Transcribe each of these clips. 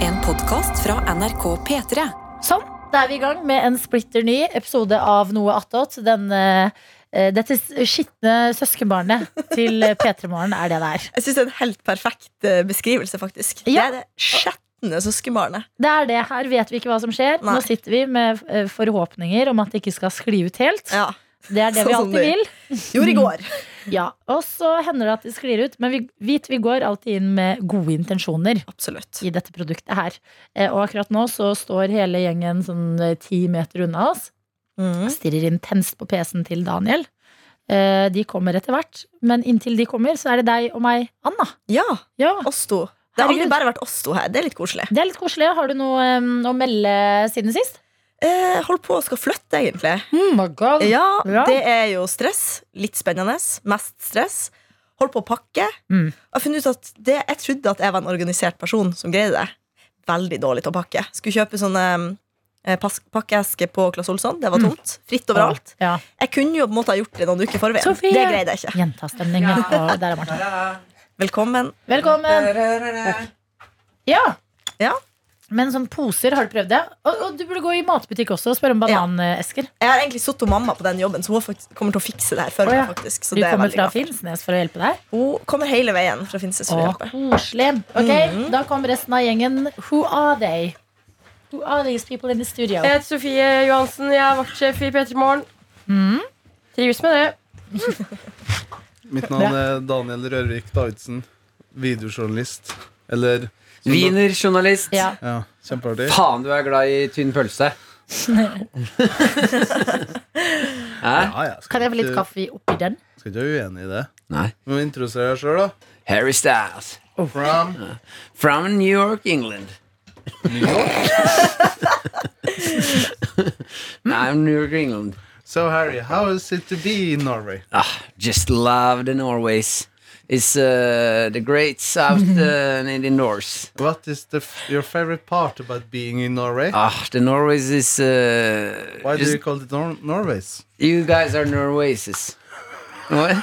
En podkast fra NRK P3. Sånn, da er vi i gang med en splitter ny episode av Noe attåt. Den, eh, eh, dette skitne søskenbarnet til P3 Morgen er det det er. Jeg synes det er en helt perfekt eh, beskrivelse, faktisk. Ja. Det er det skjetne søskenbarnet. Det er det. Her vet vi ikke hva som skjer. Nei. Nå sitter vi med eh, forhåpninger om at det ikke skal skli ut helt. Ja. Det er det vi Sånn som alltid det- vil. Gjorde Mm. i går. Ja, Og så hender det at det sklir ut, men vi, vit, vi går alltid inn med gode intensjoner Absolutt. i dette produktet her. Eh, Og akkurat nå så står hele gjengen sånn eh, ti meter unna oss. Mm. stirrer intenst på PC-en til Daniel. Eh, De kommer etter hvert, men inntil de kommer, så er det deg og meg, Anna. Ja, Ja, oss to. Det har Herregud. aldri bare vært oss to her. Det er litt koselig. Det er litt koselig. Har du noe eh, å melde siden sist? Eh, hold på å skal flytte, egentlig. Ja, Ja. det er jo stress. Litt spennende. Mest stress. Holdt på å pakke. Mm. Jeg, har funnet ut at det, jeg trodde at jeg var en organisert person som greide det. Veldig dårlig til å pakke. Skulle kjøpe sånne eh, pas- pakkeesker på Claes Olsson. Det var Mm. tomt. Fritt overalt. Ja. Jeg kunne jo på en måte ha gjort det noen uker i forveien. Sofie! Det greide jeg ikke. Jentastemning. Ja. Og der er Martha. Velkommen. Velkommen. Ja. Ja. Men sånn poser, har du prøvd det? Og, og du burde gå i matbutikk også og spørre om Ja. bananesker. Jeg har egentlig sittet og mamma på den jobben, så hun fakt- kommer til å fikse det her for Å, ja. meg. faktisk så Du det er kommer veldig fra glad. Finnsnes for å hjelpe deg. Hun kommer hele veien fra Finnsnes for å Å, hjelpe. Mm. koselig. Ok, Da kom resten av gjengen. Who are they? Who are these people in the studio? Eh, Jeg heter Sofie Johansen. Jeg er vaktsjef i P3 Morgen. Mm. Trives med det. Mitt navn er Daniel Rørvik Davidsen. Videojournalist. Eller Wienerjournalist. Ja. Ja, kjempeartig. Faen, du er glad i tynn pølse. Hæ? Ja, jeg skal Kan jeg få litt ikke- kaffe oppi den? Skal ikke være uenig i det. Nei. Du må introdusere deg sjøl, da. Harry Styles. From From New York, England. Nei, I'm New York, England. So Harry, how is it to be in Norway? Ah, just love the Norways. It's uh, the great south uh, and the north. What is the f your favorite part about being in Norway? Ah, the Norways is. Uh, Why do just- you call it Nor Norways? You guys are Norwaces. What?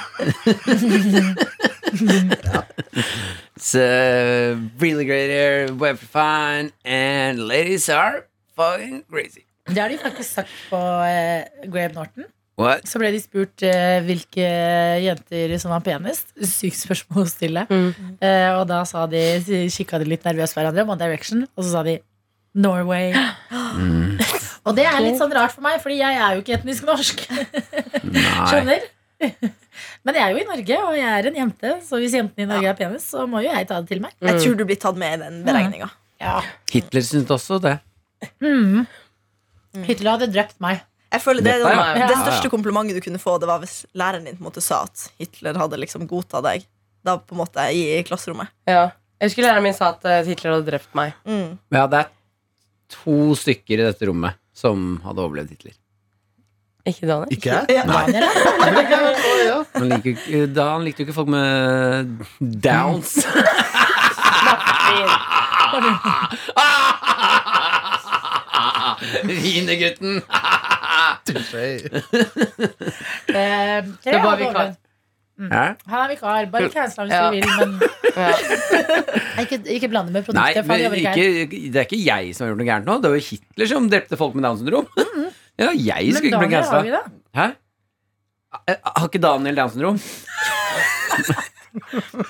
it's uh, really great here, we're fine, and ladies are fucking crazy. Det har de faktisk sagt på eh, Graham Norton. What? Så ble de spurt eh, hvilke jenter som var penest. Sykt spørsmål å stille. Eh, og da sa de, kikka de litt nervøst på hverandre om One Direction, og så sa de Norway. og det er litt sånn rart for meg, Fordi jeg er jo ikke etnisk norsk. Nei. Skjønner? Men jeg er jo i Norge, og jeg er en jente, så hvis jentene i Norge er penest, så må jo jeg ta det til meg. Jeg tror du blir tatt med i den beregninga. Hitler syntes også det. Mm. Hitler hadde drept meg. Jeg føler det, er Dette, sånn- ja. det Ja, ja. største komplimentet du kunne få, Det var hvis læreren din på en måte sa at Hitler hadde liksom godta deg. Da på en måte i, i klasserommet. Ja. Jeg husker læreren min sa at eh, Hitler hadde drept meg. Mm. Ja, det er to stykker i dette rommet som hadde overlevd Hitler. Ikke Daniel. Ikke jeg? Ja. Daniel, da? Å, ja. Han liker jo ikke, da han likte jo ikke folk med downs. Wienergutten! Touché. Eh, Det Thea var hadde vikar. overlevd. Han er vikar. Bare cancel ham hvis Ja. du vil, men Ja. ikke, ikke blande med Nei, produktet. for han men jobber ikke, her. det er ikke jeg som har gjort noe gærent nå. Det var jo Hitler som drepte folk med Downs syndrom. Ja, jeg skulle Mm, men Daniel har ikke bli vi gangsta. det. Hæ? Eh, Har ikke Daniel Downs syndrom?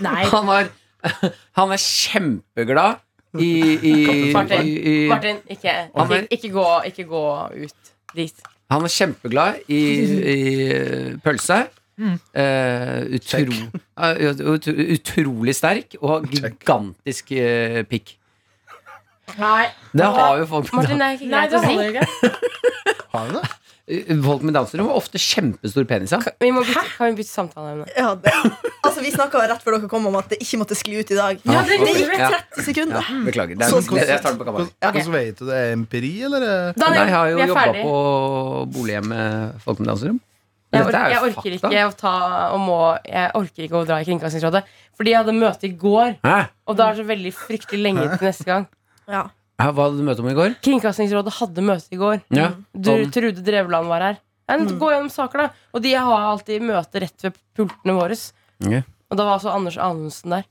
Nei. Han, var- han er kjempeglad i, i, Martin. i, i Martin, ikke, Han ikke, er- ikke, gå, ikke gå ut dit. Han er kjempeglad i, i pølse. Mm. Eh, utro, eh, ut, utrolig sterk og har gigantisk eh, pikk. Nei. Det har jo folk med, Martin, det er ikke Nei, greit det å si. holder ikke. Har du det? Down- folk med Downs syndrom. har Ofte kjempestor penis. Ja. Vi må bytte, kan vi bytte samtaleemne? Ja, det. Altså, vi snakka rett før dere kom om at det ikke måtte skli ut i dag. Ja, det, det gjorde gikk vi. 30 Ja, sekunder. beklager. Det er, Så jeg, jeg tar den på kamera. Hvordan hvordan vet du det er empiri, eller? er- Nei, Daniel, jeg har jo vi er jobba ferdig. på bolighjem med folk med Downs syndrom. Jeg, Dette orker, er jo jeg orker fakta. ikke å ta og må Jeg orker ikke å dra i Kringkastingsrådet. Fordi jeg hadde møte i går, Hæ? og da er det så veldig fryktelig lenge til neste gang. Ja. Hæ, Hva hadde du møte om i går? Kringkastingsrådet hadde møte i går. Ja, sånn. Du, om- Trude Drevland var her. Nei, Mm. men Gå gjennom saker, da. Og de har alltid møte rett ved pultene våre. Ok. Og da var altså Anders Anundsen der.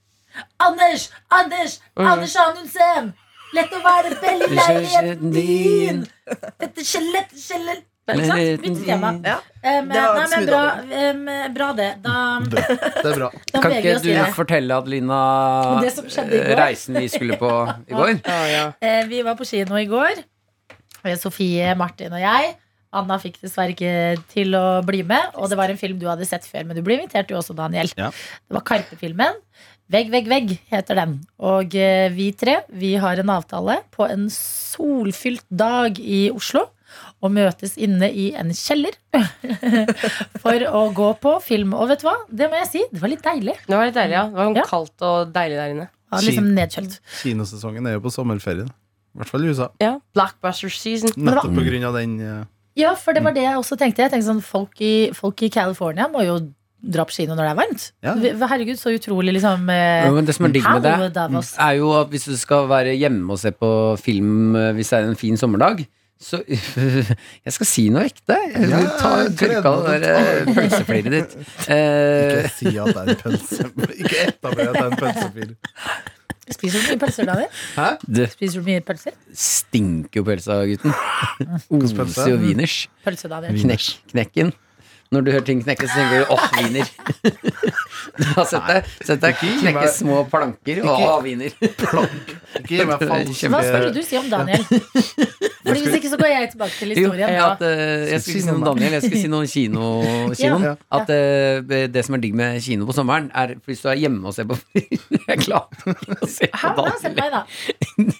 Anders! Anders! Anders Anundsen! Lett å være veldig leiligheten din. din. Dette skjelett, skjelett. Ikke sant? Leiligheten Nytt tema. din. Ja. Um, Det var nei, men smooth bra, um, bra det. Da, Bra. Det er bra. da Kan beveger vi ikke oss du videre. fortelle, Adelina, Og det som skjedde i går? reisen vi skulle på i går? Eh, Vi var på kino i går. Eh, Sofie, Martin og jeg. Anna fikk dessverre ikke til å bli med. Og det var en film du hadde sett før, men du ble invitert du også, Daniel. Ja. Det var Karpe-filmen. Vegg, vegg, vegg heter den. Og eh, vi tre vi har en avtale på en solfylt dag i Oslo. Og møtes inne i en kjeller for å gå på film. Og vet du hva? Det må jeg si, det var litt deilig. Det var litt deilig, ja. Det var sånn Ja. kaldt og deilig der inne. Det var liksom nedkjølt. Kinosesongen er jo på sommerferie. I hvert fall i USA. Ja. Blackbuster season. Nettopp på grunn av den eh, Ja, for det var det jeg også tenkte. Jeg tenkte sånn, Folk i, folk i California må jo dra på kino når det er varmt. Ja. Vi- Herregud, så utrolig liksom eh, Ja, men det som er digg med Mm. Hallo, det, Davos. er jo at hvis du skal være hjemme og se på film eh, hvis det er en fin sommerdag, så Jeg skal si noe ekte. Ja, Jeg tar gleder tørka meg det der eh, pølsefliret ditt. Eh, Ikke si at det er en pølse Ikke etablere at det er en pølsefil. Spiser du mye pølser, Daniel? Hæ? det Spiser du mye pølser? stinker jo pølsa, gutten. pølse? Oser jo wieners. Pølse, Daniel. Knekk, knekken. Når du hører ting knekke, så tenker du åh, wiener. Du har sett det? Sett deg knekke små planker og åh, wiener. Ikke gi meg falske Hva skulle du si om Daniel? Fordi Hvis ikke så går jeg tilbake til Jo, historien. at, Da. eh, jeg skulle ikke si noe om Daniel, jeg skulle si noe om kino, kinoen. Ja. At eh, det som er digg med kino på sommeren, er hvis du er hjemme og ser på film Jeg klarer ikke å se på Hæ? Da, se på Daniel. meg, da.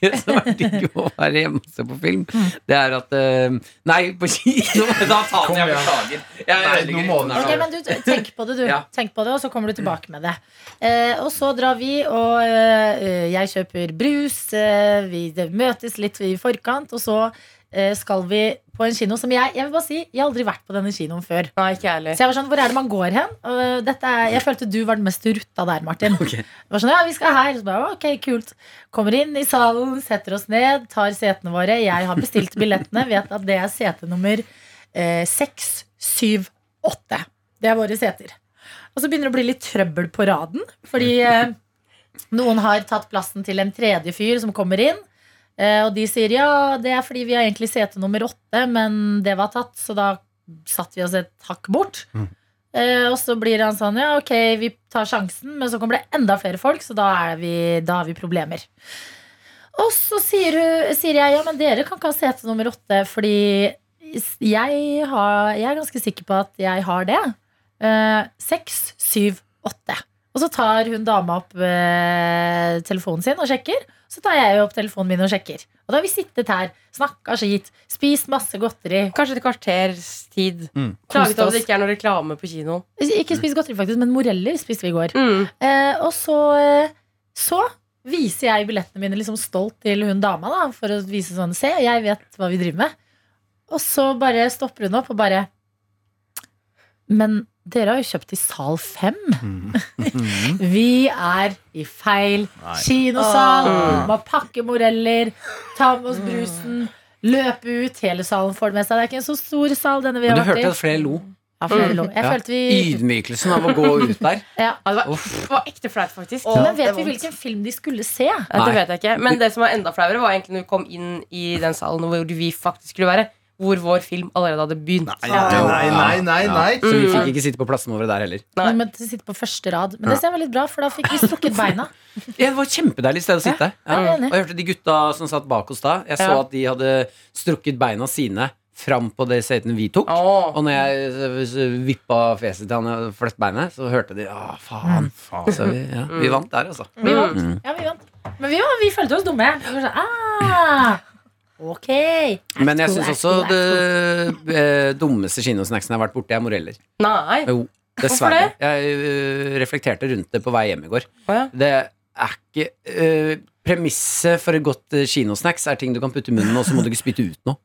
Det som er digg med å være hjemme og se på film, Mm. det er at eh, Nei, på kino! Da tar Kom jeg igjen. beklager. Jeg Nei, ødelegger nå må rytmen du- her Ok, nå. men du, tenk på det, du. Ja. Tenk på det, Og så kommer du tilbake med det. Eh, og så drar vi, og eh, jeg kjøper brus. Eh, vi det møtes litt i forkant, og så eh, skal vi på en kino som jeg Jeg vil bare si, jeg har aldri vært på denne kinoen før. Nei, ikke jeg heller. Så jeg var sånn, Hvor er det man går hen? Og øh, dette er, jeg følte du var den mest rutta der, Martin. Det var sånn, ja, vi skal her. Så bare, ok, kult Kommer inn i salen, setter oss ned, tar setene våre. Jeg har bestilt billettene. Vet at det er sete nummer eh, 6, 7, 8. Det er våre seter. Og så begynner det å bli litt trøbbel på raden. Fordi eh, noen har tatt plassen til en tredje fyr som kommer inn. Eh, og de sier ja, det er fordi vi har egentlig sete nummer åtte, men det var tatt, så da satt vi oss et hakk bort. Eh, og så blir han sånn, ja ok, vi tar sjansen, men så kommer det enda flere folk, så da, er vi, da har vi problemer. Og så sier, hun, sier jeg, ja men dere kan ikke ha sete nummer åtte, fordi jeg, har, jeg er ganske sikker på at jeg har det. Eh, Seks, syv, åtte. Og så tar hun dama opp eh, telefonen sin og sjekker. Så tar jeg jo opp telefonen min og sjekker. Og da har vi sittet her, snakka skit, spist masse godteri, Kanskje et kvarters tid. Mm. Klaget Koste oss. over at det ikke er noe reklame på kinoen. Ikke spist godteri, faktisk, men moreller spiste vi i går. Mm. Eh, og så, eh, så viser jeg billettene mine liksom stolt til hun dama, da, for å vise sånn Se, jeg vet hva vi driver med. Og så bare stopper hun opp og bare Men dere har jo kjøpt i sal fem. Mhm. Vi er i feil kinosal. Åh. Må pakke moreller, ta med oss brusen, løpe ut. Hele salen får det med seg. Det er ikke en så stor sal, denne vi Men har du vært i. hørte at flere lo. Ja, flere lo. Jeg Ja. følte vi Ydmykelsen av å gå ut der. ja. Ja, det, var, Uff. det var ekte flaut, faktisk. Åh, Men det er vet vi vondt. hvilken film de skulle se? Ja, det Nei. vet jeg ikke. Men det som var enda flauere, var egentlig når vi kom inn i den salen hvor vi faktisk skulle være. Hvor vår film allerede hadde begynt. Nei, nei, nei, nei, nei. Så vi fikk ikke sitte på plassene våre der heller. Nei. Vi måtte sitte på første rad. Men det ser veldig bra, for da fikk vi strukket beina. Ja, det var et kjempedeilig sted å sitte. Ja. jeg er enig. Og jeg hørte de gutta som satt bak oss da, jeg så Ja. at de hadde strukket beina sine fram på det setene vi tok. Åh. Og når jeg eh, vippa fjeset til han og flytt beinet, så hørte de Å, Mm, faen. Så vi, ja, vi Mm. vant der, altså. Vi vant. Mm. Ja, vi vant. Men vi, var, vi følte oss dumme. Vi var sånn, ah, ok. Men jeg cool, syns that's også cool, det eh, dummeste kinosnacksen jeg har vært borti, er moreller. Nei. Jo, dessverre. Jeg eh, reflekterte rundt det på vei hjem i går. Å, ja. Det er ikke eh, Premisset for et godt eh, kinosnacks er ting du kan putte i munnen, og så må du ikke spytte ut noe.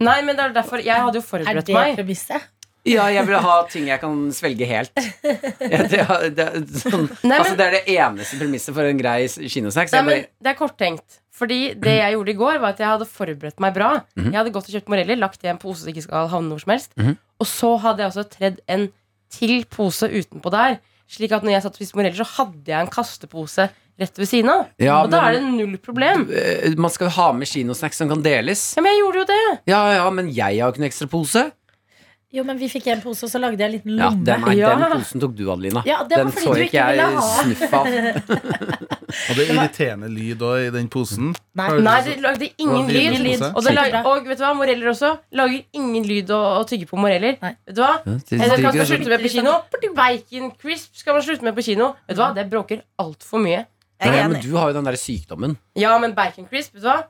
Nei, men det er derfor Jeg hadde jo Er forberedt det meg. premisset? Ja, jeg vil ha ting jeg kan svelge helt. Ja, det, er- det, er sånn, Nei, altså, men- det er det eneste premisset for en grei s- kinosnacks. Nei, Jeg men bare, Det er korttenkt. Fordi det jeg gjorde i går, var at jeg hadde forberedt meg bra. Mhm. Jeg hadde gått og kjøpt moreller, lagt det i en pose som ikke skal havne hvor som helst. Og så hadde jeg også tredd en til pose utenpå der. Slik at når jeg satt og spiste moreller, så hadde jeg en kastepose rett ved siden av. Ja, og da men- er det null problem. Eh, Man skal jo ha med kinosnacks som kan deles. Ja, men jeg gjorde jo det. Ja, ja, men jeg har jo ikke noen ekstra pose. Jo, men vi fikk en pose, og så lagde jeg en liten Ja, lomme. den, er, Ja. den posen tok du, Adelina. Ja, det var den fordi så du ikke ikke ville jeg ha. snuff av. Og det er irriterende lyd òg i den posen. Nei. Hører du Nei, så- det lagde ingen Det var lyd. lyd. Og, det lag, og vet du hva, moreller også. Lager ingen lyd å, å tygge på moreller. Nei. Vet du hva? Ja, det- Eller det- hva skal man det- slutte med på kino? Bacon crisp skal man slutte med på kino. Mm. Vet du hva, Det bråker altfor mye. Jeg Nei, er men enig. du har jo den derre sykdommen. Ja, men bacon crisp, vet du hva?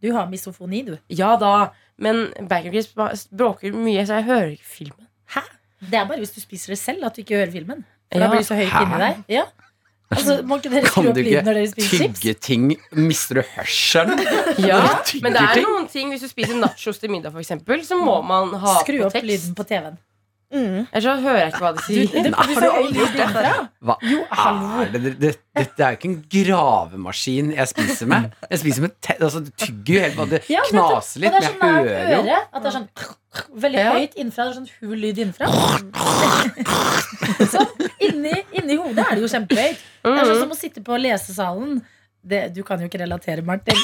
Du har misofoni, du. Ja da. Men bacon crisp bråker mye, så jeg hører ikke filmen. Hæ? Det er bare hvis du spiser det selv at du ikke hører filmen. For Ja. da blir det så høyt Hæ? inni deg. Ja. Altså, må ikke dere skru Kan opp du lyden når dere ikke spiser chips? tygge ting? Mister du hørselen? Ja, Når du tygger Men det er ting? noen ting hvis du spiser nachos til middag, for eksempel, så må man ha Skru på opp tekst. lyden på TV-en. Mm. Ellers så hører jeg ikke hva de sier. Det får du så høyt gjort det lyd fra. Hva Jo, hallo. er Ah, det? det, det, det er jo ikke en gravemaskin jeg spiser med. Jeg spiser med te altså, Du tygger jo helt på det Ja, nettopp. knaser litt, Og det er sånn men jeg nært hører jo øret at det er sånn veldig Ja. høyt innenfra. Det er sånn hul lyd innenfra. Sånn. Inni, inni hodet er det jo kjempehøyt. Mm. Det er sånn som å sitte på lesesalen. Det, du kan jo ikke relatere, Martin.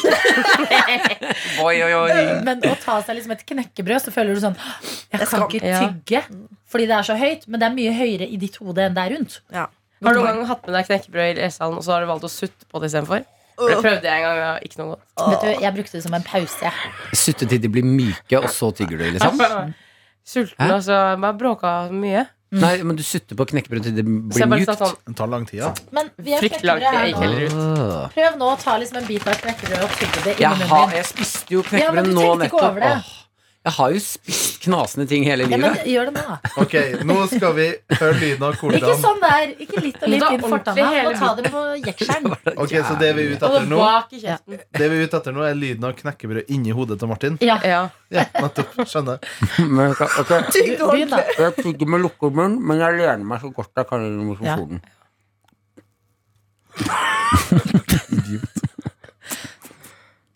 Oi, oi, oi. Men å ta seg liksom et knekkebrød, så føler du sånn Jeg kan skal- ikke Ja. tygge. Fordi det er så høyt, men det er mye høyere i ditt hode enn det er rundt. Har du noen gang hatt med deg knekkebrød i lesesalen, og så har du valgt å sutte på det istedenfor? Det prøvde jeg en gang, og ikke noe godt. Vet du, Jeg brukte det som en pause. jeg. Sutte til de blir myke, og så tygger du, liksom? Sulten, Hæ? altså. Bare bråka mye. Nei, men du sutter på knekkebrød til det Så jeg blir bare satt mykt. sånn Den tar lang tid, ja. Men vi har fryktelig knekkebrød langt. Jeg her gikk nå. heller ut. Ah. Prøv nå å ta liksom en bit av et knekkebrød og tygge det Jeg, inni har, munnen. jeg spiste jo Ja, men knekkebrød du nå tenkte ikke nettopp. over det. Åh, jeg har jo spist knasende ting hele Ja, men livet. gjør det nå, da. Ok, nå skal vi høre lyden av Ikke hvordan sånn der. Ikke litt og Men litt da inn ordentlig fortanna. hele Og ta det på jekselen. Ok, så det vi er ute Og etter det nå bak i kjeften. Det vi er ute etter nå er lyden av knekkebrød inni hodet til Martin Ja. Ja. Ja, nettopp, skjønner Men jeg- ok, Tygg det Begynn, da. ordentlig. Jeg tygger med lukket munn, men jeg lener meg så godt jeg kan gjennom mikrofonen.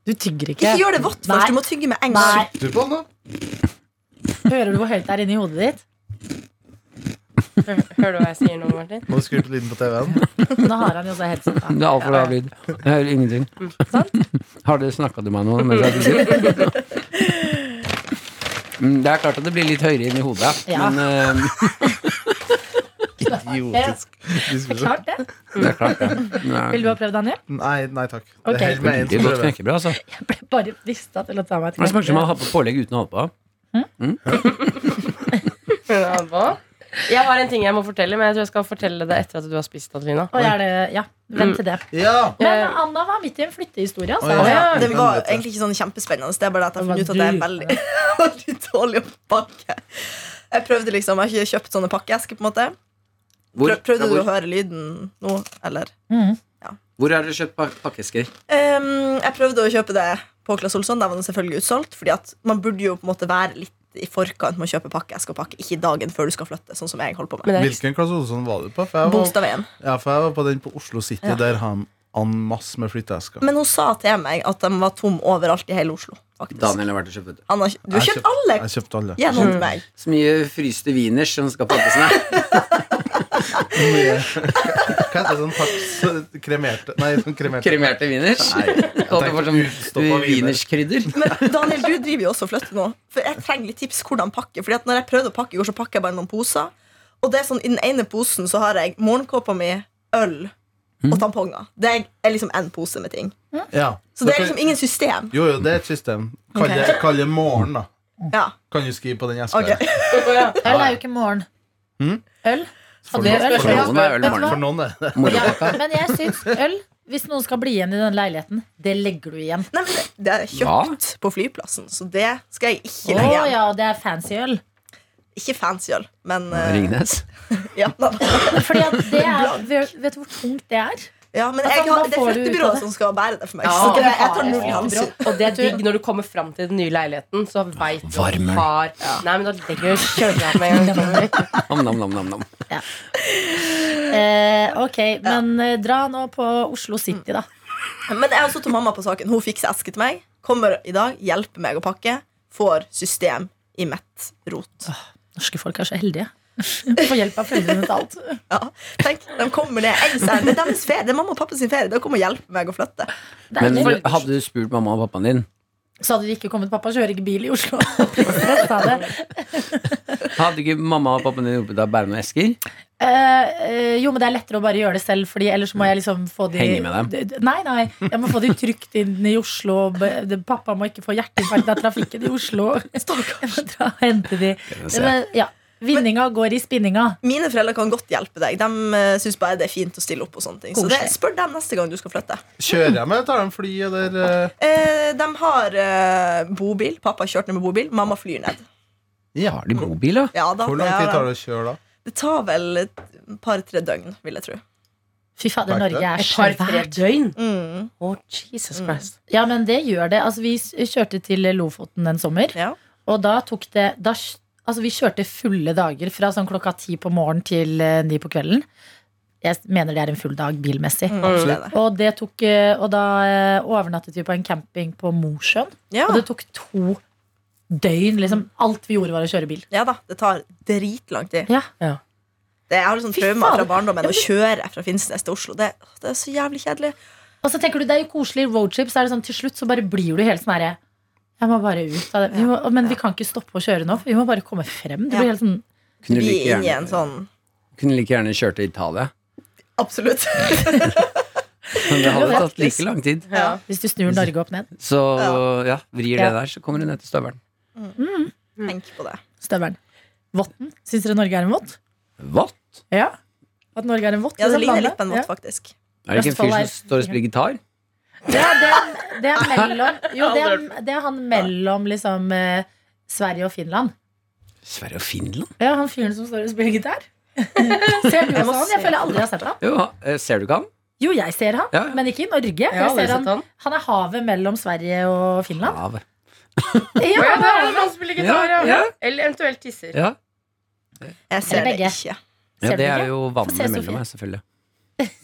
Du tygger Ikke gjør det vått Nei. først. Du må tygge med en Nei. gang. Du på nå? Hører du hvor høyt det er inni hodet ditt? Hø- Hører du hva jeg sier nå, Martin? Må du skru på lyden på TV-en Nå har han jo også headset. da. Det er altfor lav lyd. Jeg hører ingenting. Har dere snakka til meg nå? Mens jeg tygger? Mm, Det er klart at det blir litt høyere inni hodet, Ja. men eh, Idiotisk diskusjon. Klart det. det er klart, det. Vil du ha prøvd, Daniel? Nei, nei takk Det Ok. er helt med en Veldig som godt prøver knekkebrød, altså. Bare rista til å ta meg et Det smaker som knekkebrød. man har på pålegg uten å holde på. Ja, hva? Jeg har en ting jeg må fortelle, men jeg tror jeg skal fortelle det etter at du har spist, Adelina. Og er det, ja, Vent til det. Ja, Men Anna var midt i en flyttehistorie. Altså. Å, ja. Det var egentlig ikke sånn kjempespennende. Det er bare det at jeg har funnet ut at det er veldig veldig dårlig å pakke. Jeg prøvde liksom, jeg har ikke kjøpt sånne pakkeesker. på en måte Hvor, Prøv- Prøvde du å hvor, høre lyden nå, eller? hvor har dere kjøpt pak- pakkesker? Ehm, jeg prøvde å kjøpe det på Clas Olsson. Der var det selvfølgelig utsolgt. Fordi at man burde jo på en måte være litt i forkant med å kjøpe pakkeeske og pakke. Ikke dagen før du skal flytte, sånn som jeg holder på med. Men det er hvilken klasse Olsson var du på? For jeg var, Bogstadveien. ja, for jeg var på den på Oslo City Der har han en masse med flytteesker Men hun sa til meg at de var tom overalt i hele Oslo. Faktisk. Daniel har vært og kjøpt. vet du. Han har, ikke- du har Jeg kjøpt alle Jeg kjøpte alle gjennom meg. Så mye fryste wieners som skal pakkes ned. Hva heter det sånn paks kremerte Nei, sånn kremerte Kremerte wieners. Nei, jeg Og du tenkte får sånn utstoppa viner. wienerskrydder. Men Daniel, du driver jo også og flytter nå. For jeg trenger litt tips hvordan pakke. Fordi at når jeg prøvde å pakke i går, så pakket jeg bare noen poser. Og det er sånn, i den ene posen så har jeg morgenkåpa mi, øl og tamponger. Det er liksom én pose med ting. Ja. Så det er liksom ingen system. Jo, jo, det er et system. Kall det, kall det morgen, da. Ja, Kan du skrive på den eska? ok Øl er jo ikke morgen. Mm. Øl? For, det noen- er for, noen, Forholdene er Vet øl du for morgen. noen er det Ja, Morgenpakka. men jeg syns øl Hvis noen skal bli igjen i den leiligheten, det legger du igjen. Nei, men det, det har jeg kjøpt på flyplassen, så det skal jeg Å ikke legge igjen. ja, det er fancy øl. Ikke fancy øl, men eh, Ringnes. ja, da. Fordi at det er, Vet du hvor tungt det er? ja, men Da jeg kan- har, da det er får du ut av flyttebyrået det. som skal bære det for meg. Ja, så det jeg, jeg har tar jeg. null i hansen. Og det er digg når du kommer fram til den nye leiligheten, så veit du at du Varmer. har Nei, men da legger du kjøleskapet med en gang. Nam, nam, nam, nam, nam. Eh, ok, men eh, dra nå på Oslo City, da. Men jeg har også til mamma på saken. Hun fikser eske til meg. Kommer i dag, hjelper meg å pakke. Får system i mitt rot. Norske folk er så heldige. Få hjelp av foreldrene til alt. Ja. Tenk, de kommer ned. Jeg sier, det er deres ferie. Det er mamma og pappa sin ferie. De kommer og hjelper meg å flytte. Men Deilig. hadde du spurt mamma og pappaen din? Så hadde det ikke kommet pappa kjører ikke bil i Oslo. Jeg sa det. Hadde ikke mamma og pappaen din hjulpet deg å bære noen esker? Eh, eh, jo, men det er lettere å bare gjøre det selv, Fordi ellers må jeg liksom få de Henge med dem. D- d- Nei, nei. Jeg må få de trygt inn i Oslo. og be- de- Pappa må ikke få hjerteinfarkt av trafikken i Oslo. Jeg må dra og hente de. Se. Men, ja. Vinninga går i spinninga. Mine foreldre kan godt hjelpe deg. De uh, syns bare det er fint å stille opp. og sånne ting Så det, spør dem neste gang du skal flytte. Kjører jeg med? Tar de fly, eller eh, Eh, de har eh, bobil. Pappa har kjørt ned med bobil. Mamma flyr ned. Ja, har de bobil, da? Ja, da, Hvor lang tid har tar de. det å kjøre da? Det tar vel et par-tre døgn, vil jeg tro. Fy fader, Takk, Norge er Et par-tre svært. døgn? Mm. Å, Jesus Christ. Ja, men det gjør det. Altså, vi s- kjørte til Lofoten en sommer. Ja. Og da tok det da, s- Altså vi kjørte fulle dager Fra sånn klokka ti på morgen til eh, ni på kvelden Jeg s- mener det er en full dag bilmessig Mm, det er det. Og, det tok, eh, og da eh, overnattet vi på en camping på Mosjøen Ja. Og det tok to døgn liksom. Alt vi gjorde var å kjøre bil ja da. Det tar dritlang tid. Ja, Det, jeg har sånn Fy traumer faen. fra barndommen å kjøre fra Finnsnes til Oslo. Det, det er så jævlig kjedelig. Og så tenker du, det er jo koselig roadtrip Så er det sånn, til slutt så bare blir du helt sånn her Jeg må bare ut av det vi må, Men vi kan ikke stoppe å kjøre nå For vi må bare komme frem Det Ja. blir helt sånn Kunne Vi er like inne i en gjerne, sånn kunne like gjerne kjørt til Italia. Absolutt. Men det hadde Ja, tatt like lang tid. Ja. Hvis du snur Norge opp ned Så ja, vrir det Ja. der, så kommer du ned til støvelen. Tenk på det. Støveren Votten, synes dere Norge er en vått? What? Ja. At Norge er en vått? Ja, det liksom, ligner landet. litt på en Ja. vått, faktisk. Er det ikke en fyr Østfold som er- står og spiller gitar? Ja, det, er- det er mellom Jo, det er, det er han mellom liksom eh, Sverige og Finland. Sverige og Finland? Ja, han fyren som står og spiller gitar. ser du også han? Jeg føler jeg aldri har sett han. Jo, eh, ser du ikke han? Jo, jeg ser han, Ja, ja. men ikke i Norge. Jeg har Jeg aldri ser sett han, han. han er havet mellom Sverige og Finland. Havet. Ja, Å, det ja, er der er det han. han spiller gitar, ja. Ja, ja. Eller eventuelt tisser. Ja. Jeg ser det begge. ikke. ja, Ser du det ikke? er jo Få se, vannet Sofie. mellom meg,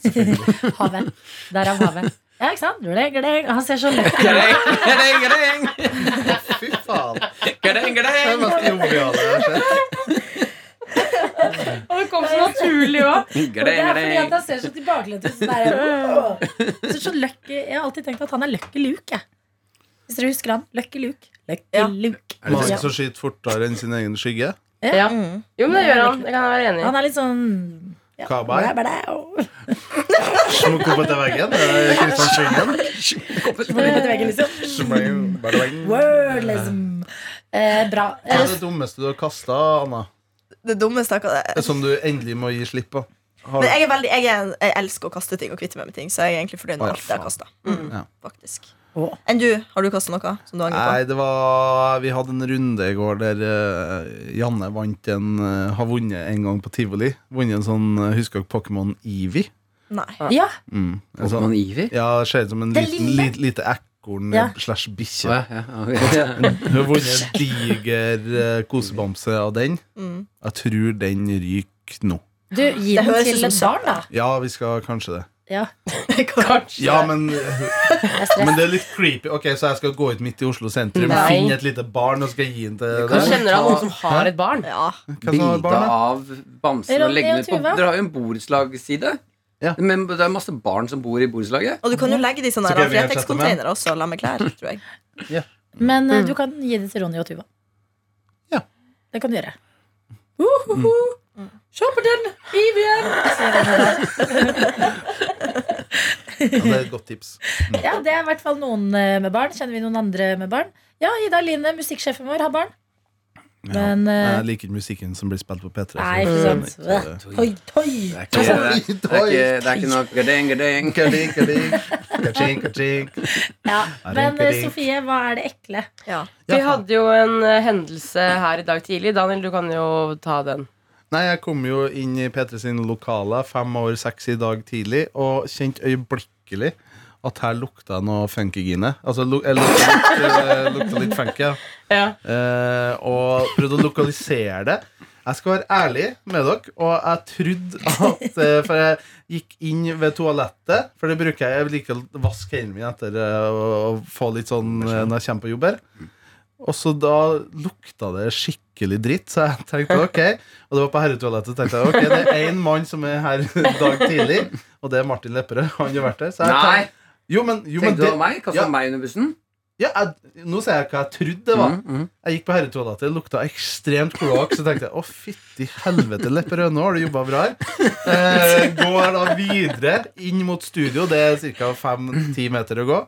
selvfølgelig. havet. Derav havet. Ja, ikke sant? Gleng, gleng. Han ser så lett Gledeng, gledeng, Fy faen. gledeng, Det er det gledeng. mest joviale jeg har sett. Og det kom så naturlig Og òg. det Gledeng, er fordi at gledeng. han ser så tilbakelent ut. sånn der, «Åh!» Så så lucky, jeg har alltid tenkt at han er Lucky Luke. Jeg. Hvis dere husker han. Lucky Luke. Lucky Ja. Luke. Er det Ja. noen som skyter fortere enn sin egen skygge? Ja. Mm. Jo, men det gjør han. Det kan jeg være enig i. Han er litt sånn ja. Cowboy? blæ, blæ, og- Smukk opp etter veggen? Er det Kristian Skyggen? Kommer ut i veggen, liksom. Smeng, bada bing. Word, liksom. Eh, bra. Hva Eh, er det dummeste du har kasta, Anna? Det dummeste jeg kan- Som du endelig må gi slipp på? Har Men du jeg, er veldig, jeg, er, en- jeg elsker å kaste ting og kvitte meg med ting, så jeg er egentlig fornøyd med Å, ja, alt jeg har kasta. Mm, Ja. Faktisk. Å. Enn du? Har du kasta noe som du angrer på? Nei, det var Vi hadde en runde i går der eh, Janne vant en eh, har vunnet en gang på tivoli. Vunnet en sånn eh, Husker dere Pokémon Evie? Nei. ja, Mm. En sånn- Pokémon Ivy? ja, det ser ut som en Det liten, lille? lit, lite ekorn Ja. slash Å, bikkje. Ja, ja, ok. Hun har vunnet en diger eh, kosebamse av den. Mm. Jeg tror den ryker nå. du, gi den Det høres ut til som et barn, da. Ja, vi skal kanskje det. Ja, Kanskje. Ja, men, det er stress. men det er litt creepy. Ok, Så jeg skal gå ut midt i Oslo sentrum, Nei. finne et lite barn og skal gi den til Nå deg? kjenner han noen som har et barn. Ja. Hva sa Bilde barnet? av bamsen og Ronny legge og ned på Tuva. Dere har jo en borettslagsside. Ja. Men det er masse barn som bor i borettslaget. Og du kan jo legge det i sånne her Så kan vi gjerne chatte med. Fretex-containere også, la meg klær, tror jeg. Men eh, Mm. du kan gi det til Ronny og Tuva. Ja. Det kan du gjøre. Mm. Uhuhu. Se på den! Ivien! Ja, det er et godt tips. Ja, det er i hvert fall noen eh, med barn. Kjenner vi noen andre med barn? Ja, Ida Line, musikksjefen vår, har barn. Ja. Men eh, Jeg liker ikke musikken som blir spilt på P3. så Nei, jeg ikke skjønner sant. sånn. ikke det. Toi, toi. Det er ikke, det er, det er ikke, det er ikke noe gadeng, gadeng. Kadink, kadink, kachink, kachink. Ja. Er det Men eh, ikke det? Sofie, hva er det ekle? Ja. Ja. Vi hadde jo en eh, hendelse her i dag tidlig. Daniel, du kan jo ta den. Nei, jeg kom jo inn i P3 sine lokaler fem over seks i dag tidlig og kjente øyeblikkelig at her lukta noe funkygine. Altså, lu- jeg lukta litt, eh, lukta litt funky, ja. Ja. Eh, og prøvde å lokalisere det. Jeg skal være ærlig med dere, og jeg trodde at eh, For jeg gikk inn ved toalettet, for det bruker jeg. Jeg liker å vaske hendene mine etter eh, å- å få litt sånn eh, når jeg kommer på jobb her. Og så da lukta det skikkelig dritt, så jeg tenkte ok. Og det var på herretoalettet. tenkte jeg, ok, Det er én mann som er her dag tidlig, og det er Martin Lepperød. Han har vært der. Så jeg Nei! tenkte, jo, men, jo, men Tenkte du det, på meg? Kasta Ja. meg under bussen? ja, jeg, nå sier jeg hva jeg trodde det var. Mm, mm. Jeg gikk på herretoalettet, det lukta ekstremt kloakk, så tenkte jeg å, fytti helvete, Lepperød, nå har du jobba bra her. Eh, går da videre inn mot studio, det er ca. fem-ti meter å gå,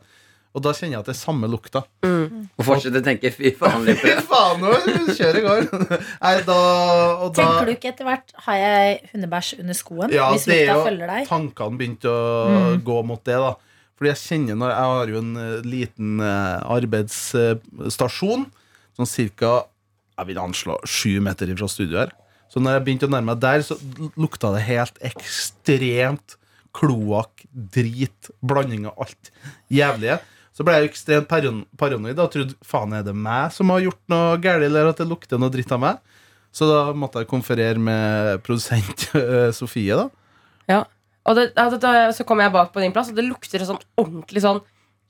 og da kjenner jeg at det er samme lukta. Og fortsette å tenke fy faen. Fy Lippe. faen, nå kjører jeg går. Nei, da, og da Tenker du ikke etter hvert Har jeg hundebæsj under skoen? Ja, hvis det er lukta jo- følger deg? Mm. Tankene begynte å gå mot det, da. Fordi jeg kjenner når Jeg har jo en eh, liten arbeidsstasjon, sånn cirka Jeg vil anslå sju meter ifra studioet her. Så når jeg begynte å nærme meg der, så l- lukta det helt ekstremt kloakk, drit, blanding av alt jævlige. Så ble jeg jo ekstremt paron- paranoid og trodde faen er det meg som har gjort noe galt, eller at det lukter noe dritt av meg. Så da måtte jeg konferere med produsent eh, Sofie, da. Og det, ja, det, da- så kom jeg bak på din plass, og det lukter sånn ordentlig sånn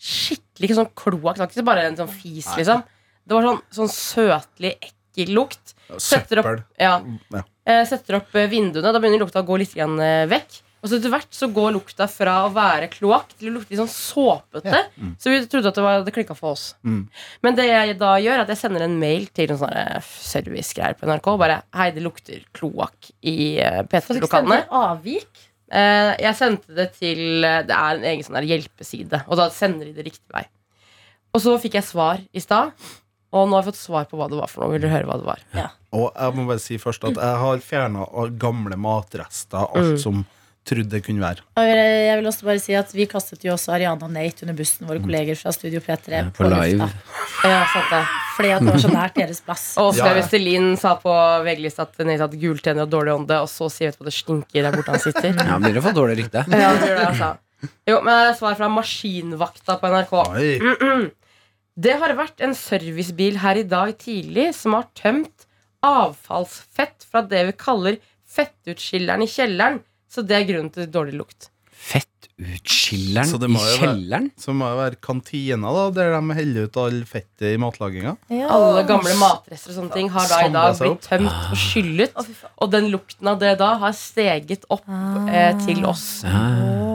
Skikkelig ikke sånn kloakk. Det var ikke bare en sånn fis, liksom. Det var sånn, sånn søtlig, ekkel lukt. Setter opp, Søppel. ja, Mm, Ja. eh, setter opp eh, vinduene, da begynner lukta å gå litt grann, eh, vekk. Og så etter hvert så går lukta fra å være kloakk til å lukte litt sånn såpete. Ja, Så vi trodde at det, var- det klikka for oss. Mm. Men det jeg da gjør, er at jeg sender en mail til noen sånne servicegreier på NRK. Bare 'Hei, det lukter kloakk i eh, Får du ikke sende P3-lokalene'. avvik? Eh, jeg sendte det til eh, Det er en egen sånn der hjelpeside, og da sender de det riktig vei. Og så fikk jeg svar i stad, og nå har jeg fått svar på hva det var for noe. Vil du høre hva det var? Og jeg må bare si først at jeg har fjerna gamle matrester, Mm. alt som trodde det kunne være. Og eh, Jeg vil også bare si at Vi kastet jo også Ariana og Nate under bussen, våre kolleger fra Studio P3. på live. lufta. Ja, sant det. Fordi at det var så nært deres plass. Og Åslaug Ja, ja. Vestelin sa på VG-lista at hun hadde gultenner og dårlig ånde, og så sier vi etterpå at det stinker der borte han sitter. Ja, begynner å få dårlig rykte. Ja, det gjør det, altså. Jo, men det er svar fra Maskinvakta på NRK. Oi, Mm. Det har vært en servicebil her i dag tidlig som har tømt avfallsfett fra det vi kaller fettutskilleren i kjelleren. Så det er grunnen til dårlig lukt. Så det Fettutskilleren må i jo være- kjelleren? så må det være kantina, da, der de heller ut all fettet i matlaginga. Alle gamle matrester og sånne ting har da i dag Samlet seg opp. blitt tømt og skyllet. Og den lukten av det da har steget opp eh, Ah. til oss. Ja, ja,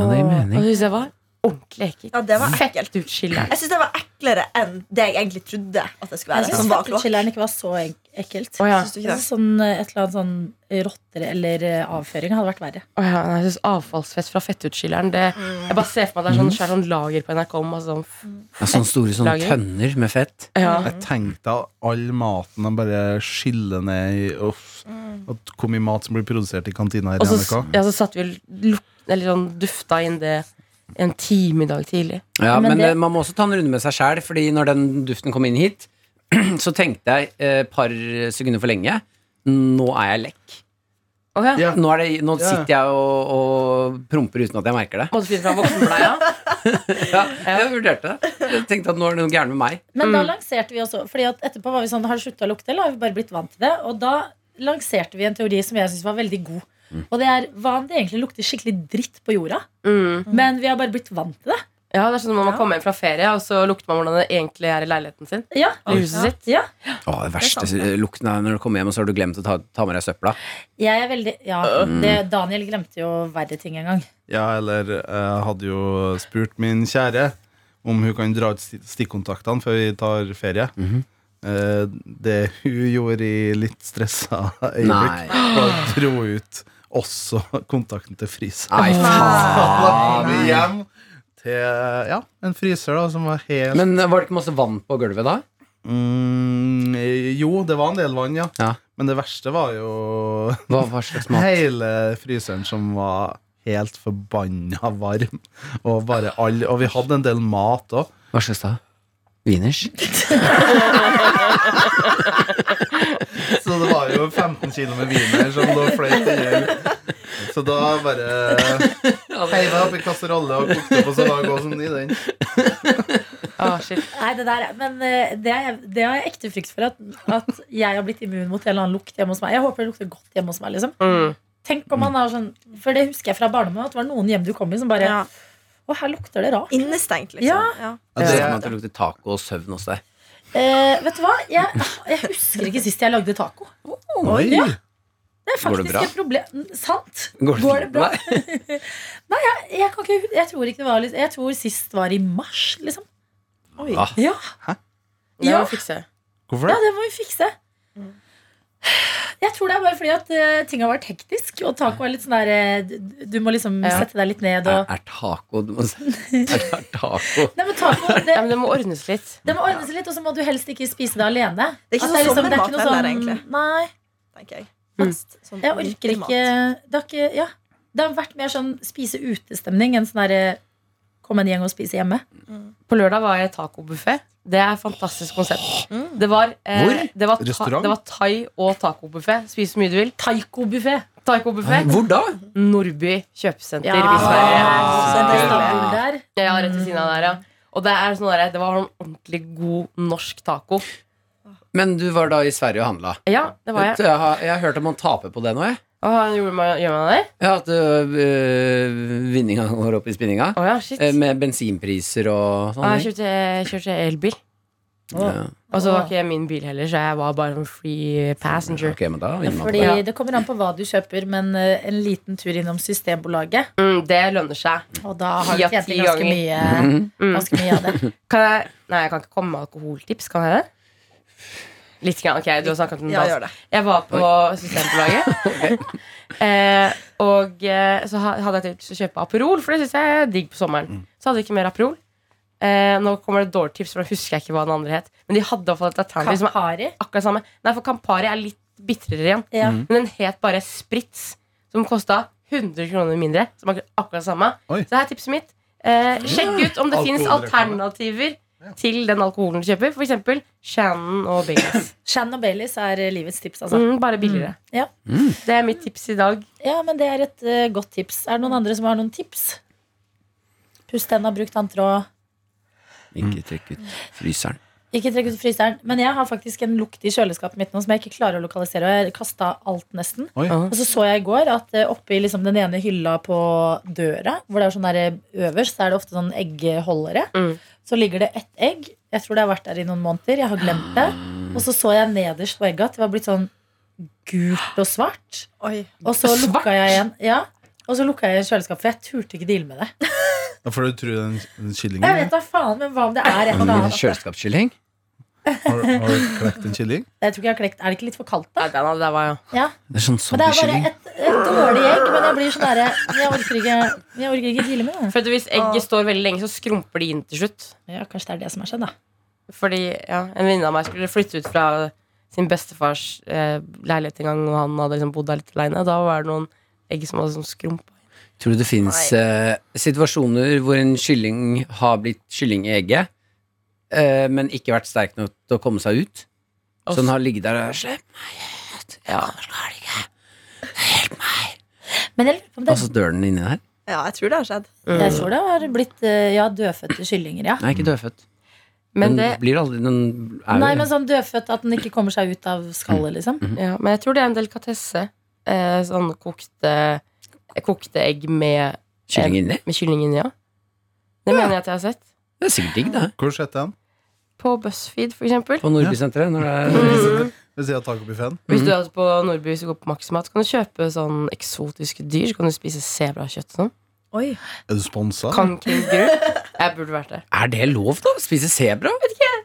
Ah, det gir Og det mening. synes jeg var ordentlig ekkelt. Ja, det var ekkelt. Fettutskilleren. Jeg syns det var eklere enn det jeg egentlig trodde. at det skulle Jeg være syns som var kloakk. fettutskilleren ikke var så ek- ekkelt. Å ja. Syns du Jeg ikke det? synes Sånn, eh, et eller annet sånn rotter eller eh, avføring hadde vært verre. Å ja, nei, jeg synes avfallsfett fra fettutskilleren det, Mm. Jeg bare ser for meg det er sånn svært sånn lager på NRK. om, Altså, sånn, Ja, sånne store sånne Lager. tønner med fett. ja. Jeg tenkte at all maten de bare skyller ned i uff, at Hvor mye mat som blir produsert i kantina her Mm. Og i så, NRK. ja, så satt vi og luk, eller sånn, dufta inn det en time i dag tidlig. Ja, Men men, det- eh, man må også ta en runde med seg sjæl, Fordi når den duften kom inn hit, så tenkte jeg et eh, par sekunder for lenge Nå er jeg lekk. Å ja. Ja. Nå, er det, nå Ja. sitter jeg og, og promper uten at jeg merker det. Måtte finne fram voksenbleia. Ja, jeg vurderte det. Jeg tenkte at nå er det noe gærent med meg. Men Mm. da lanserte vi også Fordi at etterpå var vi sånn, har det slutta å lukte, eller har vi bare blitt vant til det? Og da lanserte vi en teori som jeg syns var veldig god. Mm. Og det er hva om det egentlig lukter skikkelig dritt på jorda? Mm. Men vi har bare blitt vant til det. Ja, det er sånn når man kommer hjem fra ferie, og så lukter man hvordan det egentlig er i leiligheten sin. Ja, Eller huset sitt. ja. Å, det verste sant, eh, lukten er når du kommer hjem, og så har du glemt å ta, ta med deg søpla. Jeg er veldig Ja, Mm. det, Daniel glemte jo verre ting en gang. Ja, eller jeg hadde jo spurt min kjære om hun kan dra ut sti- stikkontaktene før vi tar ferie. Eh, Det hun gjorde i litt stressa øyeblikk, Nei. var å dro ut også kontakten til fryseren. Nei, faen. Da var Ah, vi hjem til ja, en fryser da, som var helt Men eh, var det ikke masse vann på gulvet da? mm, Jo, det var en del vann, ja. Ja. Men det verste var jo Hva, hva slags mat? Hele fryseren som var helt forbanna varm. Og, bare all, og vi hadde en del mat òg. Hva slags da? Wieners? Så det var jo 15 kilo med viner som lå fløyt i hjel. Så da bare heiva oppi kasserolle og kokte på så lang gås som i den. Ah, shit. Nei, det der, er- men eh, det, er, det har jeg ekte frykt for. At, at jeg har blitt immun mot en eller annen lukt hjemme hos meg. Jeg håper det lukter godt hjemme hos meg. liksom Mm. Tenk om man har sånn For det husker jeg fra barndommen. At det var noen hjem du kom i som bare Ja. Å, her lukter det rart. Innestengt, liksom. Ja. Ja. Jeg ser for Ja. meg at det lukter taco og søvn hos deg. Eh, vet du hva? Jeg, jeg husker ikke sist jeg lagde taco. Oi! Det er Går det faktisk bra? et problem. Sant. Går det, Går det bra? Nei. Jeg, kan ikke, jeg tror ikke det var litt- Jeg tror sist var i mars, liksom. Oi. Ah. Ja, Det Ja. må vi fikse. Hvorfor ja, det? det må vi fikse. Jeg tror det er bare fordi at eh, ting har vært hektisk, og taco er litt sånn der eh, du- Du må liksom Ja. sette deg litt ned Er, og er taco du må si. Er, er taco Nei, men taco, det, Ja, men det må ordnes litt. det må ordne seg litt, og så må du helst ikke spise det alene. Det er ikke At sånn det er sommermat ikke noe heller, sånn- egentlig. Nei. tenker jeg. Mm. Fast, sånn Jeg orker vintermat. ikke Det har, ikke, ja. det har vært mer sånn spise ute-stemning enn sånn derre Kom en gjeng og spise hjemme. På lørdag var jeg i tacobuffé. Det er et fantastisk konsept. Det var, eh, Hvor? det var, ta, Restaurant? det var thai og tacobuffé. Spis så mye du vil. Taikobuffé! Tacobuffé. Hvor da? Nordby kjøpesenter i Sverige. Ah, der. Ja, rett ved siden av der, ja. Og det, er sånn der, det var sånn ordentlig god norsk taco. Men du var da i Sverige og handla. Ja, det var jeg. Jeg har, jeg har hørt at man taper på det nå, jeg. Å, gjorde man, gjør man det? Ja, At øh, vinninga går opp i spinninga. Å ja, shit. Eh, Med bensinpriser og Å, sånn. Ah, jeg kjørte, jeg kjørte elbil. Ja. Og så var ikke min bil heller, så jeg var bare en free passenger. Ok, men da vinner man på Fordi det. Det kommer an på hva du kjøper, men eh, en liten tur innom Systembolaget, Mm, det lønner seg. og da har du Ja, tjent ti inn ganske mye, ganger. Mm. ganske mye av det. Kan jeg, nei, jeg kan ikke komme med alkoholtips, kan jeg det? Litt grann, ok, du har snakket om det Ja, altså. gjør det. Jeg var på Systembolaget eh, Og eh, så ha- hadde jeg til å kjøpe Aperol For det synes jeg er digg på sommeren Så hadde jeg ikke mer Aperol eh, Nå kommer det dårlig tips, for da husker jeg ikke hva den andre het Men de hadde i hvert fall et alternativ som er Campari. akkurat samme Nei, for Campari er litt bittrere igjen Ja. Mm. Men den het bare Spritz Som kostet 100 kroner mindre Som er akkurat samme Oi. Så her er tipset mitt eh, Sjekk ut om det finnes Alkoholreklame. alternativer Til den alkoholen du kjøper For eksempel Shannon og Baileys Shan og Baileys er eh, livets tips, altså. mm, Bare billigere Ja. Mm. Det er mitt tips i dag ja, men det er et eh, godt tips. Er det noen andre som har noen tips? Pust tenna, bruk tanntråd. Ikke trekk ut fryseren. Ikke trekk ut fryseren. Men jeg har faktisk en lukt i kjøleskapet mitt nå som jeg ikke klarer å lokalisere. Og jeg kasta alt, nesten. Oi. Og så så jeg i går at eh, oppe i liksom den ene hylla på døra, hvor det er sånn der eh, øverst, så er det ofte sånn eggeholdere. Mm. Så ligger det ett egg. Jeg tror det har vært der i noen måneder. Jeg har glemt det. Og så så jeg nederst på egget at det var blitt sånn gult og svart. Oi. Og så Svart? lukka jeg igjen. Ja. Og så lukka jeg kjøleskapet, for jeg turte ikke deale med det. Da får du tro den, den kyllingen. Jeg vet da faen, men hva om det er et eller annet? Kjøleskapskylling? Har, har du klekt en kylling? Jeg tror ikke jeg har klekt. Er det ikke litt for kaldt, da? Nei, den hadde det var jo Ja. Det er sånn Men det er bare zombiekylling. et, et dårlig egg, men jeg blir sånn derre Jeg orker ikke Jeg orker ikke deale med det. For at hvis egget står veldig lenge, så skrumper de inn til slutt Ja, kanskje det er det som har skjedd, da. Fordi ja, en venninne av meg skulle flytte ut fra sin bestefars eh, leilighet en gang, og han hadde liksom bodd der litt alene. Da var det noen egg som hadde sånn skrumpa. Tror du det fins eh, situasjoner hvor en kylling har blitt kylling i egget, eh, men ikke vært sterk nok til å komme seg ut? Og Så den har ligget der og Slipp meg ut! Ja. Men jeg lurer på om det Og så dør den inni der. Ja, jeg tror det har skjedd. Mm. Jeg tror det har blitt eh, Ja, dødfødte kyllinger, ja. Nei, ikke dødfødt. Men, den det, blir aldri Den er Mm. jo Nei, men sånn dødfødt at den ikke kommer seg ut av skallet, liksom. ja, men jeg tror det er en delikatesse. Eh, sånn kokte, eh, kokte egg med, kylling inni. med kylling inni, ja. Det mener jeg at jeg har sett. Det er sikkert digg, det. Hvor setter jeg den? På BuzzFeed, for eksempel. På Nordbysenteret. Når det Mm. er Ved siden av tacobuffeen? Hvis du er på Nordby hvis du går på Maximat, så kan du kjøpe sånn eksotiske dyr. Så kan du spise sebrakjøtt og sånn. Oi. Er du sponsa? Kan kenguru. Jeg burde vært der. Er det lov, da? Spise sebra?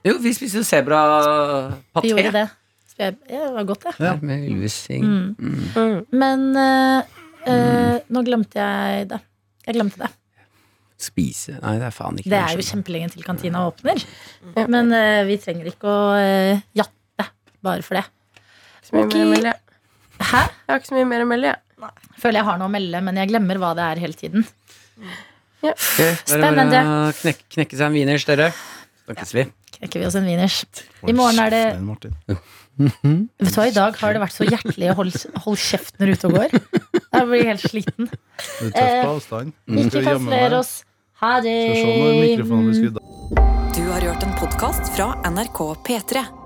Jo, vi spiser jo sebrapaté. Vi gjorde det. Mm. Så jeg, ja, det var godt, det. Ja, med Ylvis Singh. Men eh, eh, Mm. nå glemte jeg det. Jeg glemte det. Spise Nei, det er faen ikke Det er jo kjempelenge til kantina åpner. Men eh, vi trenger ikke å eh, jatte bare for det. Ikke så mye Ok. mer å melde, jeg. Hæ? Jeg har ikke så mye mer å melde, jeg. Føler jeg har noe å melde, men jeg glemmer hva det er hele tiden. Spennende. Bare å knek knekke seg en wieners, dere. Snakkes vi. Knekker vi oss en wieners. I morgen er det Kjeften din, Martin. Vet du hva, I dag har det vært så hjertelig å holde, holde kjeften ute og går. Jeg blir helt sliten. Du er tøff Eh, på avstand. Du Ikke skal gjemme deg. kansler oss. Ha det. Skal se når mikrofonen blir skrudd av. Du har hørt en podkast fra NRK P3.